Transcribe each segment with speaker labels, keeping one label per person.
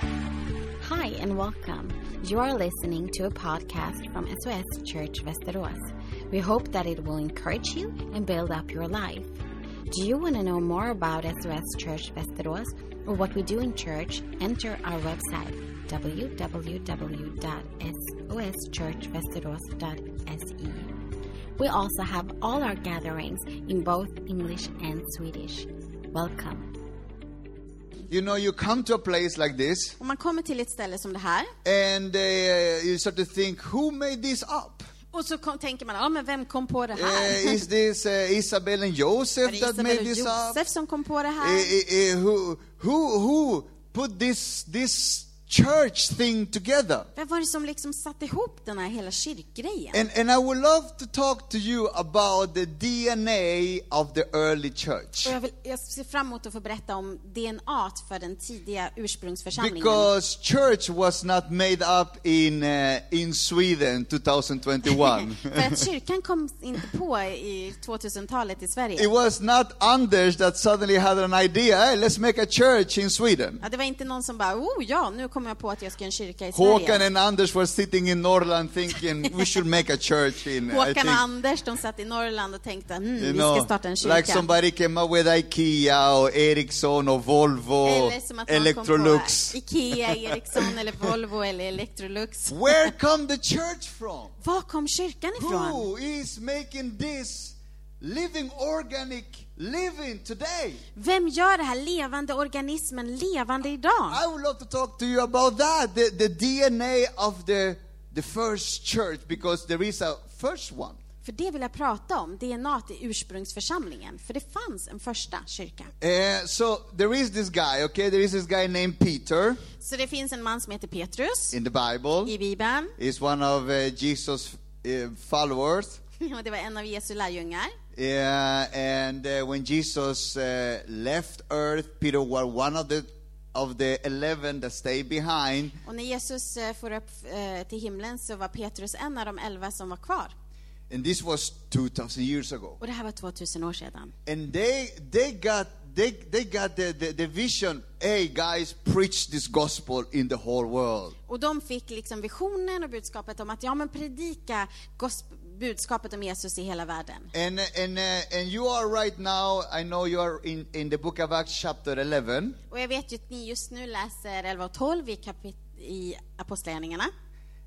Speaker 1: Hi and welcome. You are listening to a podcast from SOS Church Västerås. We hope that it will encourage you and build up your life. Do you want to know more about SOS Church Västerås or what we do in church? Enter our website www.soschurchvesteros.se. E. We also have all our gatherings in both English and Swedish. Welcome.
Speaker 2: You know, you come to a place like this
Speaker 3: Och man kommer till ett ställe som det här
Speaker 2: and uh, you start to think, who made this up?
Speaker 3: och så kom, tänker man, ja men vem kom på det
Speaker 1: Ah.
Speaker 2: Uh,
Speaker 3: här?
Speaker 2: is this uh, Isabel and
Speaker 3: Var
Speaker 2: Joseph
Speaker 3: det
Speaker 2: that
Speaker 3: Isabel
Speaker 2: made
Speaker 3: och
Speaker 2: this up?
Speaker 3: Josef som kom på det
Speaker 2: Uh,
Speaker 3: här?
Speaker 2: uh, uh, who, who, who put this, this church thing together?
Speaker 3: Vem var det som liksom satte ihop den här hela kyrkgrejen?
Speaker 2: And, and I would love to talk to you about the DNA of the early church.
Speaker 3: Och jag, vill, jag ser fram emot att få berätta om DNA t för den tidiga ursprungsförsamlingen.
Speaker 2: Because church was not made up in, uh, in Sweden 2021.
Speaker 3: för att kyrkan kom inte på i 2000-talet i Sverige.
Speaker 2: It was not Anders that suddenly had an idea, hey, let's make a church in Sweden.
Speaker 3: Ja, det var inte någon som bara, oh ja, nu kommer jag på att jag ska göra en kyrka i
Speaker 2: Håkan
Speaker 3: Sverige.
Speaker 2: and Anders were sitting in Norrland thinking, we should make a church in, I
Speaker 3: Håkan och
Speaker 2: think,
Speaker 3: Anders, de satt i Norrland och tänkte, mm,
Speaker 2: you
Speaker 3: vi ska
Speaker 2: know,
Speaker 3: starta en kyrka.
Speaker 2: like somebody came up with IKEA or Ericsson or Volvo,
Speaker 3: Eller som att man kom på
Speaker 2: Electrolux.
Speaker 3: Ikea, Ericsson eller Volvo eller Electrolux.
Speaker 2: Where come the church from?
Speaker 3: Var kom kyrkan ifrån?
Speaker 2: Who is making this living organic living today?
Speaker 3: Vem gör det här levande organismen levande idag?
Speaker 2: I would love to talk to you about that, the, the DNA of the, the first church, because there is a first one.
Speaker 3: För det vill jag prata om, DNA i ursprungsförsamlingen. För det fanns en första kyrka.
Speaker 2: Uh, so there is this guy, okay? There is this guy named Peter
Speaker 3: Så det finns en man som heter Petrus
Speaker 2: in the Bible.
Speaker 3: i Bibeln.
Speaker 2: He's one of uh, Jesus' uh, followers.
Speaker 3: Och det var en av Jesu lärjungar.
Speaker 2: Uh, and uh, when Jesus uh, left earth, Peter was one of the of the 11 that stayed behind.
Speaker 3: Och när Jesus eh, for upp eh, till himlen så var Petrus en av de elva som var kvar.
Speaker 2: And this was 2000 years ago.
Speaker 3: Och det här var 2000 år sedan.
Speaker 2: and they they got they they got the, the, the vision hey guys preach this gospel in the whole world
Speaker 3: Och de fick liksom visionen och budskapet om att ja, men predika gosp- budskapet om Jesus i hela världen.
Speaker 2: and and uh, and you are right now i know you are in in the book of acts chapter 11
Speaker 3: Och jag vet ju att ni just nu läser 11 och 12 i, kapit- i Apostlagärningarna.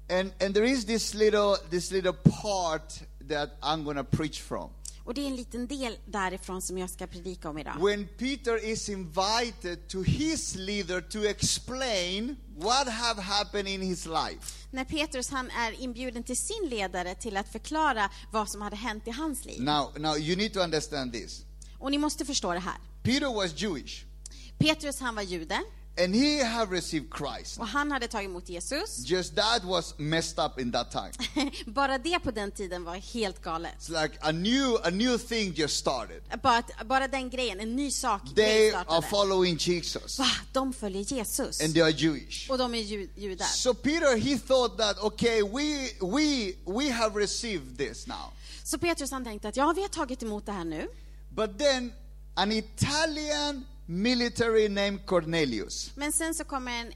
Speaker 2: and and there is this little this little part that i'm going to preach from
Speaker 3: Och det är en liten del därifrån som jag ska predika om idag.
Speaker 2: when peter is invited to his leader to explain what have happened in his life
Speaker 3: När Petrus han är inbjuden till sin ledare till att förklara vad som hade hänt i hans liv.
Speaker 2: now now you need to understand this
Speaker 3: Och ni måste förstå det här.
Speaker 2: peter was jewish
Speaker 3: Petrus han var jude
Speaker 2: and he have received christ
Speaker 3: och han hade tagit emot Jesus.
Speaker 2: Just that was messed up in that time.
Speaker 3: Bara det på den tiden var helt galet.
Speaker 2: It's like a new a new thing just started.
Speaker 3: Bara, att, bara den grejen, en ny sak.
Speaker 2: They
Speaker 3: startade.
Speaker 2: are following Jesus
Speaker 3: Va? De följer Jesus.
Speaker 2: and they are Jewish.
Speaker 3: Och de är ju, judar.
Speaker 2: So Peter he thought that okay we we we have received this now.
Speaker 3: Så Petrus han tänkte att ja, vi har tagit emot det här nu.
Speaker 2: But then an Italian military named Cornelius
Speaker 3: Men sen så kommer en,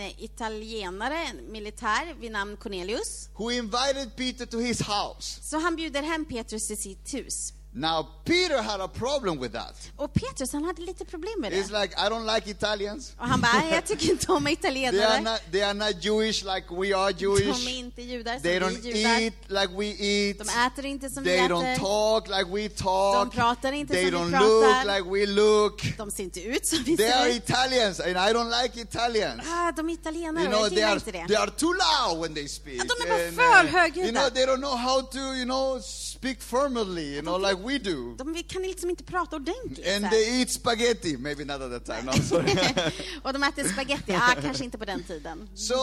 Speaker 3: en italienare, en militär vid namn Cornelius.
Speaker 2: who invited Peter to his house.
Speaker 3: Så han bjuder hem Petrus till sitt hus.
Speaker 2: Now Peter had a problem with that.
Speaker 3: Och Petrus han hade lite problem med
Speaker 2: It's
Speaker 3: det.
Speaker 2: like I don't like Italians.
Speaker 3: Och han bara, "Nej, jag tycker inte om
Speaker 2: They are
Speaker 3: italienare.
Speaker 2: not they are not Jewish like we are Jewish.
Speaker 3: De är inte judar
Speaker 2: They
Speaker 3: som
Speaker 2: don't
Speaker 3: vi är judar.
Speaker 2: eat like we eat.
Speaker 3: De äter inte som vi
Speaker 2: They don't
Speaker 3: äter.
Speaker 2: talk like we talk.
Speaker 3: De pratar inte
Speaker 2: They
Speaker 3: som
Speaker 2: don't
Speaker 3: vi
Speaker 2: look
Speaker 3: pratar.
Speaker 2: like we look.
Speaker 3: De ser inte ut som vi
Speaker 2: They are
Speaker 3: ser ut.
Speaker 2: Italians and I don't like Italians.
Speaker 3: Ah, de är italienare,
Speaker 2: You know
Speaker 3: jag
Speaker 2: they
Speaker 3: gillar
Speaker 2: are
Speaker 3: inte det.
Speaker 2: they are too loud when they speak.
Speaker 3: Ja, de är bara
Speaker 2: And,
Speaker 3: för
Speaker 2: uh,
Speaker 3: högljudda.
Speaker 2: you know they don't know how to you know speak firmly you know like we do.
Speaker 3: De vi kan liksom inte prata ordentligt. så
Speaker 2: And
Speaker 3: här.
Speaker 2: they eat spaghetti maybe not at that time. No, sorry.
Speaker 3: och de äter spaghetti. Ah, kanske inte på den tiden.
Speaker 2: so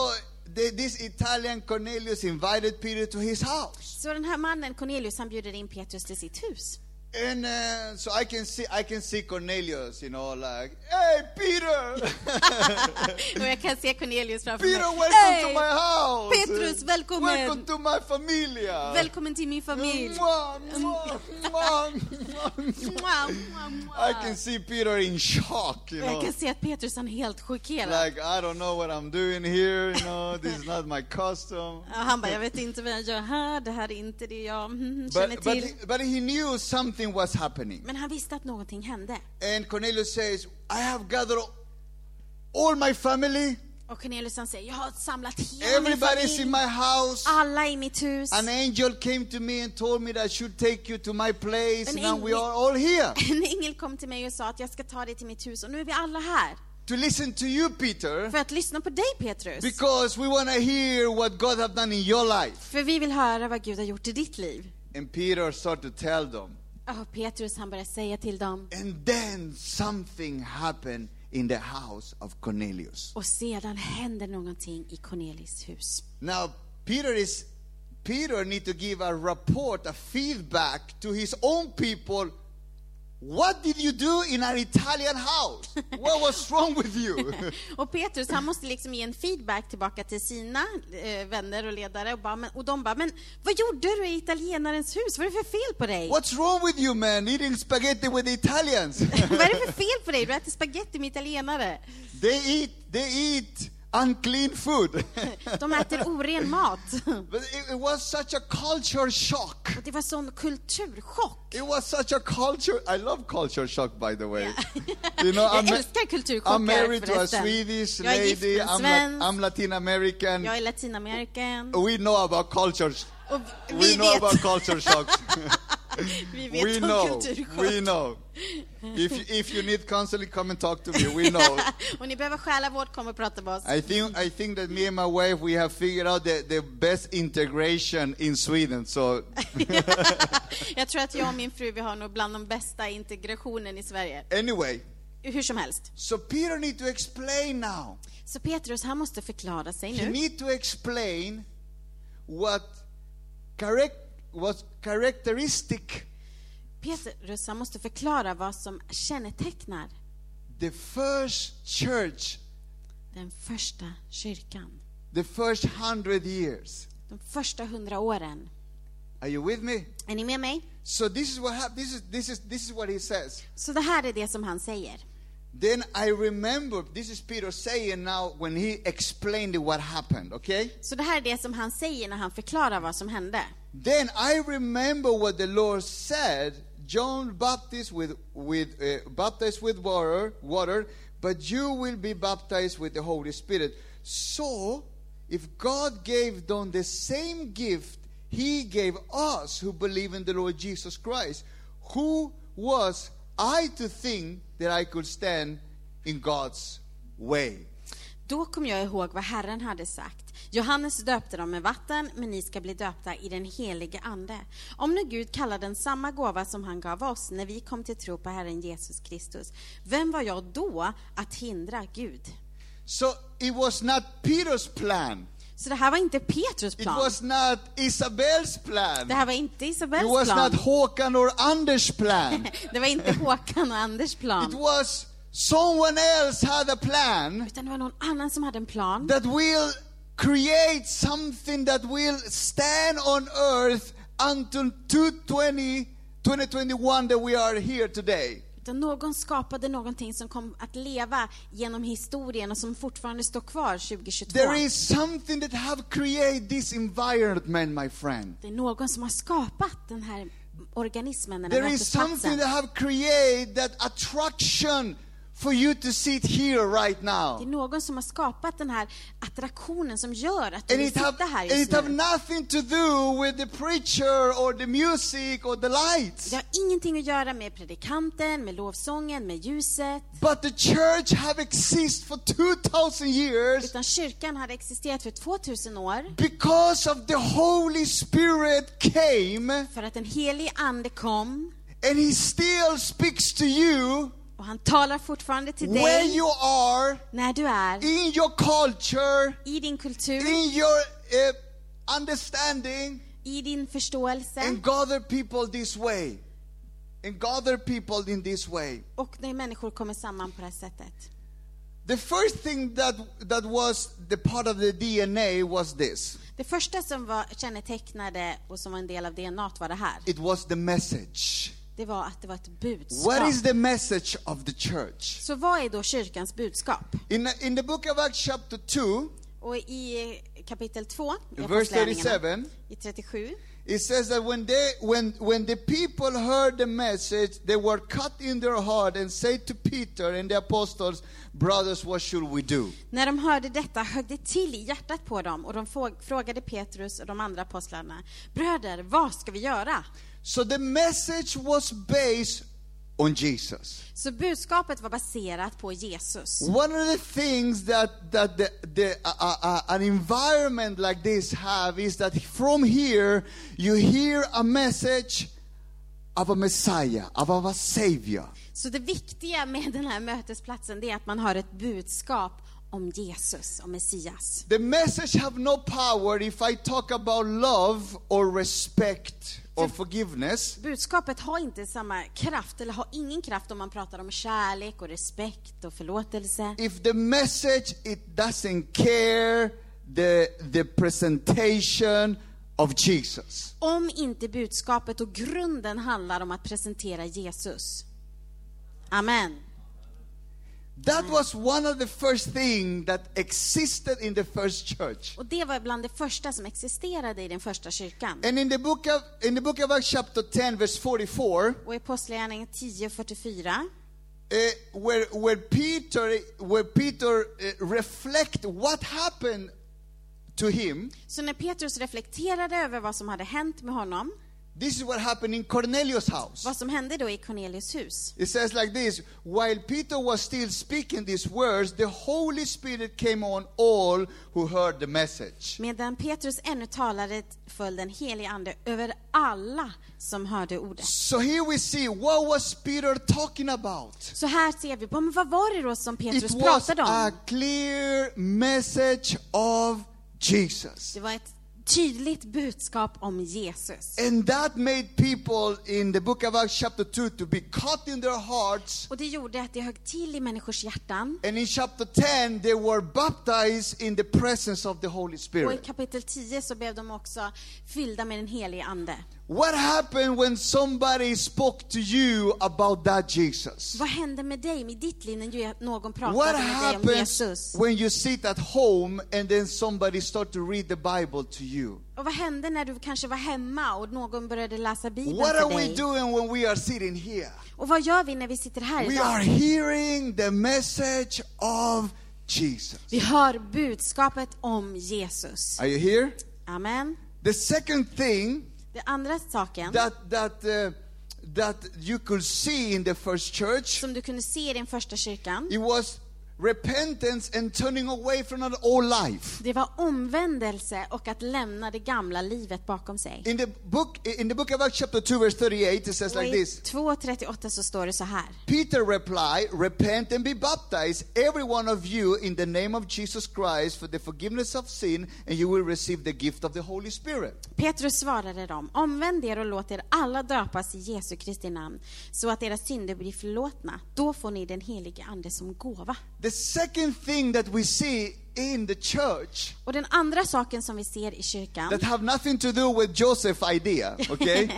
Speaker 2: they, this Italian Cornelius invited Peter to his house.
Speaker 3: Så den här mannen, Cornelius, han bjuder in Petrus till sitt hus.
Speaker 2: And uh, so I can see, I can see Cornelius, you know, like, hey Peter,
Speaker 3: Och jag kan se Cornelius framför
Speaker 2: Peter, welcome
Speaker 3: mig.
Speaker 2: to my house.
Speaker 3: Petrus, välkommen.
Speaker 2: Welcome to my familia.
Speaker 3: Välkommen till min familj.
Speaker 2: Mwah, mwah, mwah, mwah.
Speaker 3: Mwah, mwah, mwah.
Speaker 2: I can see Peter in shock, you
Speaker 3: Jag
Speaker 2: know.
Speaker 3: kan se att Petrus han är helt chockerad.
Speaker 2: Like, I don't know what I'm doing here, you know, this is not my custom.
Speaker 3: Ja, han bara, jag vet inte vad jag gör här, det här är inte det jag mm, känner
Speaker 2: But, but,
Speaker 3: till.
Speaker 2: he- but he knew something was happening.
Speaker 3: Men han visste att någonting hände.
Speaker 2: And Cornelius says, I have gathered all my family,
Speaker 3: Och Cornelius han säger, jag har samlat hela min
Speaker 2: everybody's in
Speaker 3: familj,
Speaker 2: my house.
Speaker 3: alla i mitt hus.
Speaker 2: An angel came to me and told me that I should take you to my place,
Speaker 3: An
Speaker 2: and now we
Speaker 3: angel-
Speaker 2: are all here
Speaker 3: En ängel kom till mig och sa att jag ska ta dig till mitt hus och nu är vi alla här
Speaker 2: to listen to you, Peter,
Speaker 3: för att lyssna på dig Petrus.
Speaker 2: because we want to hear what God have done in your life.
Speaker 3: För vi vill höra vad Gud har gjort i ditt liv.
Speaker 2: And Peter started to tell them.
Speaker 3: Ja, Petrus han började säga till dem
Speaker 2: And then something happened in the house of Cornelius.
Speaker 3: och sedan händer någonting i Cornelis hus.
Speaker 2: Now Peter is Peter need to give a report, a feedback to his own people. What did you do in an Italian house? What was wrong with you?
Speaker 3: Och Petrus han måste liksom ge en feedback tillbaka till sina eh, vänner och ledare och, bara, men, och de bara, men vad gjorde du i italienarens hus? Vad är det för fel på dig?
Speaker 2: What's wrong with you, man? Eating spaghetti with Italians?
Speaker 3: vad är det för fel på dig? Du äter spaghetti med italienare.
Speaker 2: they eat they eat unclean food.
Speaker 3: De äter oren mat.
Speaker 2: but it, it was such a culture shock.
Speaker 3: Och det var sån kulturchock.
Speaker 2: It was such a culture. I love culture shock, by the way. You know,
Speaker 3: Jag
Speaker 2: I'm,
Speaker 3: älskar kulturchockar
Speaker 2: I'm married to a
Speaker 3: förresten.
Speaker 2: Swedish
Speaker 3: Jag är gift med
Speaker 2: lady.
Speaker 3: en
Speaker 2: I'm,
Speaker 3: svensk.
Speaker 2: I'm Latin American.
Speaker 3: Jag är latinamerikan.
Speaker 2: We know about culture. sh-
Speaker 3: Och
Speaker 2: Oh, We
Speaker 3: vi
Speaker 2: know about
Speaker 3: vet,
Speaker 2: culture shocks.
Speaker 3: vi vet
Speaker 2: we
Speaker 3: om
Speaker 2: know.
Speaker 3: kulturchock.
Speaker 2: We know. If you, if you need counseling, come and talk to me. We know.
Speaker 3: och ni behöver själavård, kom och prata med oss.
Speaker 2: I think I think that me and my wife we have figured out the, the best integration in Sweden. So
Speaker 3: Jag tror att jag och min fru, vi har nog bland de bästa integrationen i Sverige.
Speaker 2: anyway,
Speaker 3: Hur som helst.
Speaker 2: so Peter need to explain now.
Speaker 3: Så Petrus, han måste förklara sig
Speaker 2: He
Speaker 3: nu.
Speaker 2: need to explain what correct was characteristic
Speaker 3: Petrus, han måste förklara vad som kännetecknar
Speaker 2: the first church,
Speaker 3: den första kyrkan.
Speaker 2: the first hundred years.
Speaker 3: De första hundra åren.
Speaker 2: Are you with me?
Speaker 3: Är ni med mig?
Speaker 2: So this is what hap- this is this is this is what he says.
Speaker 3: Så det här är det som han säger.
Speaker 2: Then I remember this is Peter saying now when he explained what happened, okay?
Speaker 3: Så det här är det som han säger när han förklarar vad som hände.
Speaker 2: Then I remember what the Lord said, John Baptist with with uh, baptized with water, water, but you will be baptized with the Holy Spirit. So, if God gave them the same gift he gave us who believe in the Lord Jesus Christ, who was I to think that I could stand in God's way?
Speaker 3: Då kom jag ihåg vad Herren hade sagt. Johannes döpte dem med vatten, men ni ska bli döpta i den helige Ande. Om nu Gud kallar den samma gåva som han gav oss när vi kom till tro på Herren Jesus Kristus, vem var jag då att hindra Gud?
Speaker 2: So it was not Peter's plan.
Speaker 3: Så det här var inte Petrus
Speaker 2: It
Speaker 3: plan.
Speaker 2: was not Isabel's plan.
Speaker 3: Det här var inte
Speaker 2: It was
Speaker 3: Isabells
Speaker 2: not
Speaker 3: plan.
Speaker 2: Håkan or Anders' plan.
Speaker 3: Det var inte Håkan och Anders
Speaker 2: it
Speaker 3: plan.
Speaker 2: was someone else had a plan
Speaker 3: Utan det var någon annan som hade en plan
Speaker 2: that will create something that will stand on earth until 220, 2021 that we are here today.
Speaker 3: Utan någon skapade någonting som kom att leva genom historien och som fortfarande står kvar 2022.
Speaker 2: There is something that have created this environment, my friend.
Speaker 3: Det är någon som har skapat den här organismen, den här
Speaker 2: There is something
Speaker 3: mötesplatsen.
Speaker 2: that have created that attraction for you to sit here right now.
Speaker 3: Det är någon som har skapat den här attraktionen som gör att du
Speaker 2: And
Speaker 3: vill
Speaker 2: it, have,
Speaker 3: sitta här
Speaker 2: and it
Speaker 3: just
Speaker 2: have
Speaker 3: nu.
Speaker 2: nothing to do with the preacher or the music or the lights.
Speaker 3: Det har ingenting att göra med predikanten, med lovsången, med ljuset.
Speaker 2: But the church have existed for 2,000 years
Speaker 3: Utan kyrkan hade existerat för 2000 år
Speaker 2: because of the Holy Spirit came
Speaker 3: för att en helig ande kom
Speaker 2: and He still speaks to you
Speaker 3: och han talar fortfarande till
Speaker 2: where
Speaker 3: dig
Speaker 2: you are,
Speaker 3: när du är
Speaker 2: in your culture,
Speaker 3: i din kultur,
Speaker 2: in your uh, understanding,
Speaker 3: i din förståelse.
Speaker 2: and gather people this way. And gather people in this way.
Speaker 3: och när människor kommer samman på det här sättet.
Speaker 2: The first thing that, that was the part of the DNA was this
Speaker 3: Det första som var kännetecknade och som var en del av DNA var det här.
Speaker 2: it was the message.
Speaker 3: Det var att det var ett
Speaker 2: What is
Speaker 3: budskap.
Speaker 2: the message of the church?
Speaker 3: Så vad är då kyrkans budskap?
Speaker 2: In, in the book of Acts, chapter 2,
Speaker 3: Och i kapitel 2, i
Speaker 2: Verse
Speaker 3: Apostlagärningarna,
Speaker 2: 37.
Speaker 3: i 37,
Speaker 2: It says that when they when when the people heard the message, they were cut in their heart and said to Peter and the apostles, Brothers, what should we do?
Speaker 3: när de hörde detta högg det till i hjärtat på dem och de fråg- frågade Petrus och de andra apostlarna, bröder, vad ska vi göra?
Speaker 2: So the message was based on Jesus.
Speaker 3: Så budskapet var baserat på Jesus.
Speaker 2: One of the things that that the, the uh, uh, uh, an environment like this have is that from here you hear a message of a Messiah, of a Savior.
Speaker 3: Så det viktiga med den här mötesplatsen det är att man har ett budskap om Jesus, om Messias.
Speaker 2: The message have no power if I talk about love or respect or forgiveness.
Speaker 3: Budskapet har inte samma kraft, eller har ingen kraft om man pratar om kärlek och respekt och förlåtelse.
Speaker 2: If the message it doesn't care the the presentation of Jesus.
Speaker 3: Om inte budskapet och grunden handlar om att presentera Jesus. Amen.
Speaker 2: That was one of the first thing that existed in the first church.
Speaker 3: Och det var bland det första som existerade i den första kyrkan.
Speaker 2: And in the book of in the book of Acts chapter 10 verse 44
Speaker 3: Och i Apostlagärningarna 10.44
Speaker 2: uh, where where Peter where Peter uh, reflect what happened to him
Speaker 3: Så när Petrus reflekterade över vad som hade hänt med honom,
Speaker 2: This is what happened in Cornelius' house.
Speaker 3: vad som hände då i Cornelius hus.
Speaker 2: It says like this While Peter was still speaking these words, the Holy Spirit came on all who heard the message.
Speaker 3: Medan Petrus ännu talade föll den helige Ande över alla som hörde ordet.
Speaker 2: So here we see what was Peter talking about.
Speaker 3: Så här ser vi, på, men vad var det då som
Speaker 2: It
Speaker 3: Petrus
Speaker 2: was
Speaker 3: pratade
Speaker 2: a
Speaker 3: om?
Speaker 2: clear message of Jesus.
Speaker 3: Det var ett tydligt budskap om Jesus.
Speaker 2: And that made people in the book of Acts, chapter 2, to be caught in their hearts.
Speaker 3: Och det gjorde att det högg till i människors hjärtan.
Speaker 2: And in chapter 10, they were baptized in the presence of the Holy
Speaker 3: Och i
Speaker 2: Spirit.
Speaker 3: kapitel 10 så blev de också fyllda med den helige Ande.
Speaker 2: What happened when somebody spoke to you about that Jesus?
Speaker 3: Vad hände med dig, med ditt liv, när ju- någon
Speaker 2: What
Speaker 3: pratade med dig om
Speaker 2: happens
Speaker 3: Jesus?
Speaker 2: when you sit at home and then somebody start to read the Bible to you?
Speaker 3: Och vad hände när du kanske var hemma och någon började läsa Bibeln
Speaker 2: What are
Speaker 3: för
Speaker 2: we
Speaker 3: dig?
Speaker 2: doing when we are sitting here?
Speaker 3: Och vad gör vi när vi sitter här
Speaker 2: We
Speaker 3: idag?
Speaker 2: are hearing the message of Jesus.
Speaker 3: Vi hör budskapet om Jesus.
Speaker 2: Are you here?
Speaker 3: Amen.
Speaker 2: The second thing
Speaker 3: Den andra saken
Speaker 2: that that uh, that you could see in the first church
Speaker 3: som du kunde se i den första kyrkan,
Speaker 2: it was repentance and turning away from an old life.
Speaker 3: det var omvändelse och att lämna det gamla livet bakom sig.
Speaker 2: In the book in the book of Acts chapter 2 verse 38 it says
Speaker 3: Och
Speaker 2: like
Speaker 3: i
Speaker 2: this
Speaker 3: 2.38 så står det så här.
Speaker 2: Peter replied repent and be baptized every one of you in the name of Jesus Christ for the forgiveness of sin and you will receive the gift of the Holy Spirit.
Speaker 3: Petrus svarade dem, omvänd er och låt er alla döpas i Jesu Kristi namn, så att era synder blir förlåtna. Då får ni den helige Ande som gåva.
Speaker 2: The second thing that we see in the church
Speaker 3: Och den andra saken som vi ser i kyrkan,
Speaker 2: that have nothing to do with Joseph idea, okay?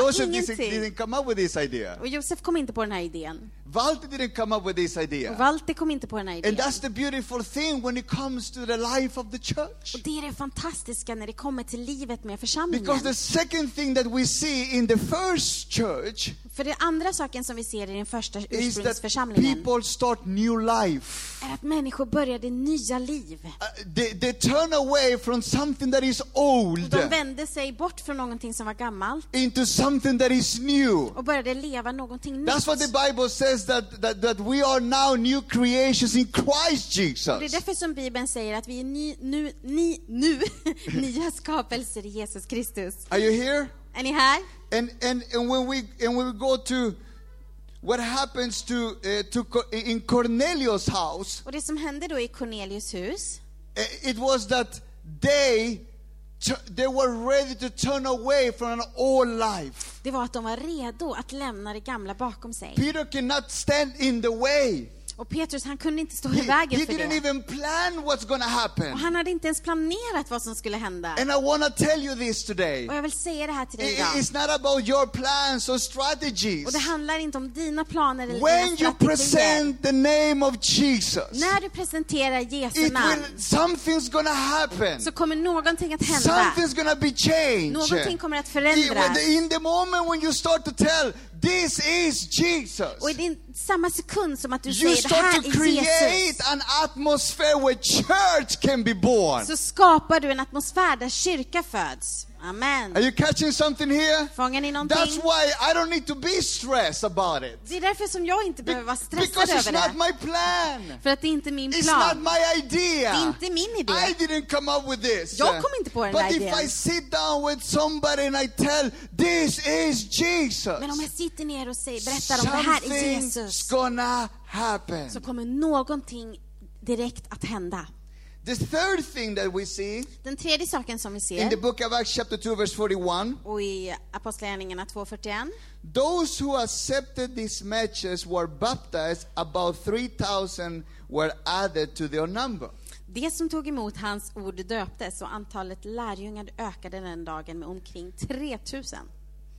Speaker 2: Joseph
Speaker 3: ingenting.
Speaker 2: didn't, didn't come up with this idea.
Speaker 3: och Josef kom inte på den här idén,
Speaker 2: Walter didn't come up with this
Speaker 3: och
Speaker 2: idea.
Speaker 3: Walter kom inte på den här idén.
Speaker 2: And that's the beautiful thing when it comes to the life of the church.
Speaker 3: Och det är det fantastiska när det kommer till livet med församlingen.
Speaker 2: Because the second thing that we see in the first church
Speaker 3: För det andra saken som vi ser i den första
Speaker 2: is that
Speaker 3: ursprungsförsamlingen
Speaker 2: people start new life.
Speaker 3: är att människor började nya liv.
Speaker 2: Uh, they, they turn away from something that is old
Speaker 3: De vände sig bort från någonting som var gammalt
Speaker 2: into something that is new.
Speaker 3: och började leva någonting
Speaker 2: That's what the
Speaker 3: nytt.
Speaker 2: Bible says that, that, that we are now new creations in Christ
Speaker 3: Det är
Speaker 2: Jesus.
Speaker 3: därför som Bibeln säger att vi är ny, nu, ni, nu nya skapelser i Jesus Kristus.
Speaker 2: Are you here?
Speaker 3: Är ni här?
Speaker 2: And, and, and, when, we, and when we go to what happens to, uh, to Co- in Cornelius' house,
Speaker 3: Och det som hände då i Cornelius hus,
Speaker 2: Uh, it was that they tu- they were ready to turn away from an old life
Speaker 3: det var att de var redo att lämna det gamla bakom sig.
Speaker 2: peter cannot stand in the way
Speaker 3: Och Petrus, han kunde inte stå
Speaker 2: He,
Speaker 3: i vägen
Speaker 2: he
Speaker 3: för
Speaker 2: didn't
Speaker 3: det.
Speaker 2: even plan what's going to happen.
Speaker 3: Och han hade inte ens planerat vad som skulle hända.
Speaker 2: And I want to tell you this today.
Speaker 3: Och jag vill säga det här till
Speaker 2: I-
Speaker 3: dig
Speaker 2: i-
Speaker 3: idag.
Speaker 2: It's not about your plans or
Speaker 3: Och det
Speaker 2: strategies.
Speaker 3: handlar inte om dina planer eller
Speaker 2: When you
Speaker 3: dina strategier.
Speaker 2: present the name of Jesus,
Speaker 3: När du presenterar Jesu
Speaker 2: it
Speaker 3: namn
Speaker 2: will, something's going to happen.
Speaker 3: så kommer någonting att hända.
Speaker 2: Something's going to be changed.
Speaker 3: Någonting kommer att
Speaker 2: I- when
Speaker 3: förändras.
Speaker 2: the- In the moment when you start to tell, this is Jesus,
Speaker 3: Och i din, samma sekund som att du
Speaker 2: you
Speaker 3: säger det
Speaker 2: start to
Speaker 3: här är
Speaker 2: create
Speaker 3: Jesus
Speaker 2: an atmosphere where church can be born.
Speaker 3: så skapar du en atmosfär där kyrka föds. Amen.
Speaker 2: Are you catching something here?
Speaker 3: Fångar ni
Speaker 2: That's
Speaker 3: någonting?
Speaker 2: why I don't need to be stressed about it.
Speaker 3: Det är därför som jag inte
Speaker 2: Be-
Speaker 3: behöver vara stressad
Speaker 2: because it's
Speaker 3: över
Speaker 2: not
Speaker 3: det.
Speaker 2: my plan.
Speaker 3: För att det är inte min
Speaker 2: It's not
Speaker 3: plan.
Speaker 2: my idea.
Speaker 3: Det är inte min idé.
Speaker 2: I didn't come up with this.
Speaker 3: Jag kom inte på den
Speaker 2: But
Speaker 3: där
Speaker 2: if
Speaker 3: idén.
Speaker 2: I sit down with somebody and I tell, this is Jesus.
Speaker 3: Men om jag sitter ner och säger, berättar om det här är
Speaker 2: something's
Speaker 3: Jesus
Speaker 2: gonna happen.
Speaker 3: så kommer någonting direkt att hända.
Speaker 2: The third thing that we see
Speaker 3: Den tredje saken som vi
Speaker 2: in the
Speaker 3: ser
Speaker 2: book of Acts chapter 2 verse 41,
Speaker 3: och i Apostlagärningarna 2.41
Speaker 2: those who accepted these matches were baptized, about 3,000 were added to their number.
Speaker 3: Det som tog emot hans ord döptes och antalet lärjungar ökade den dagen med omkring 3000.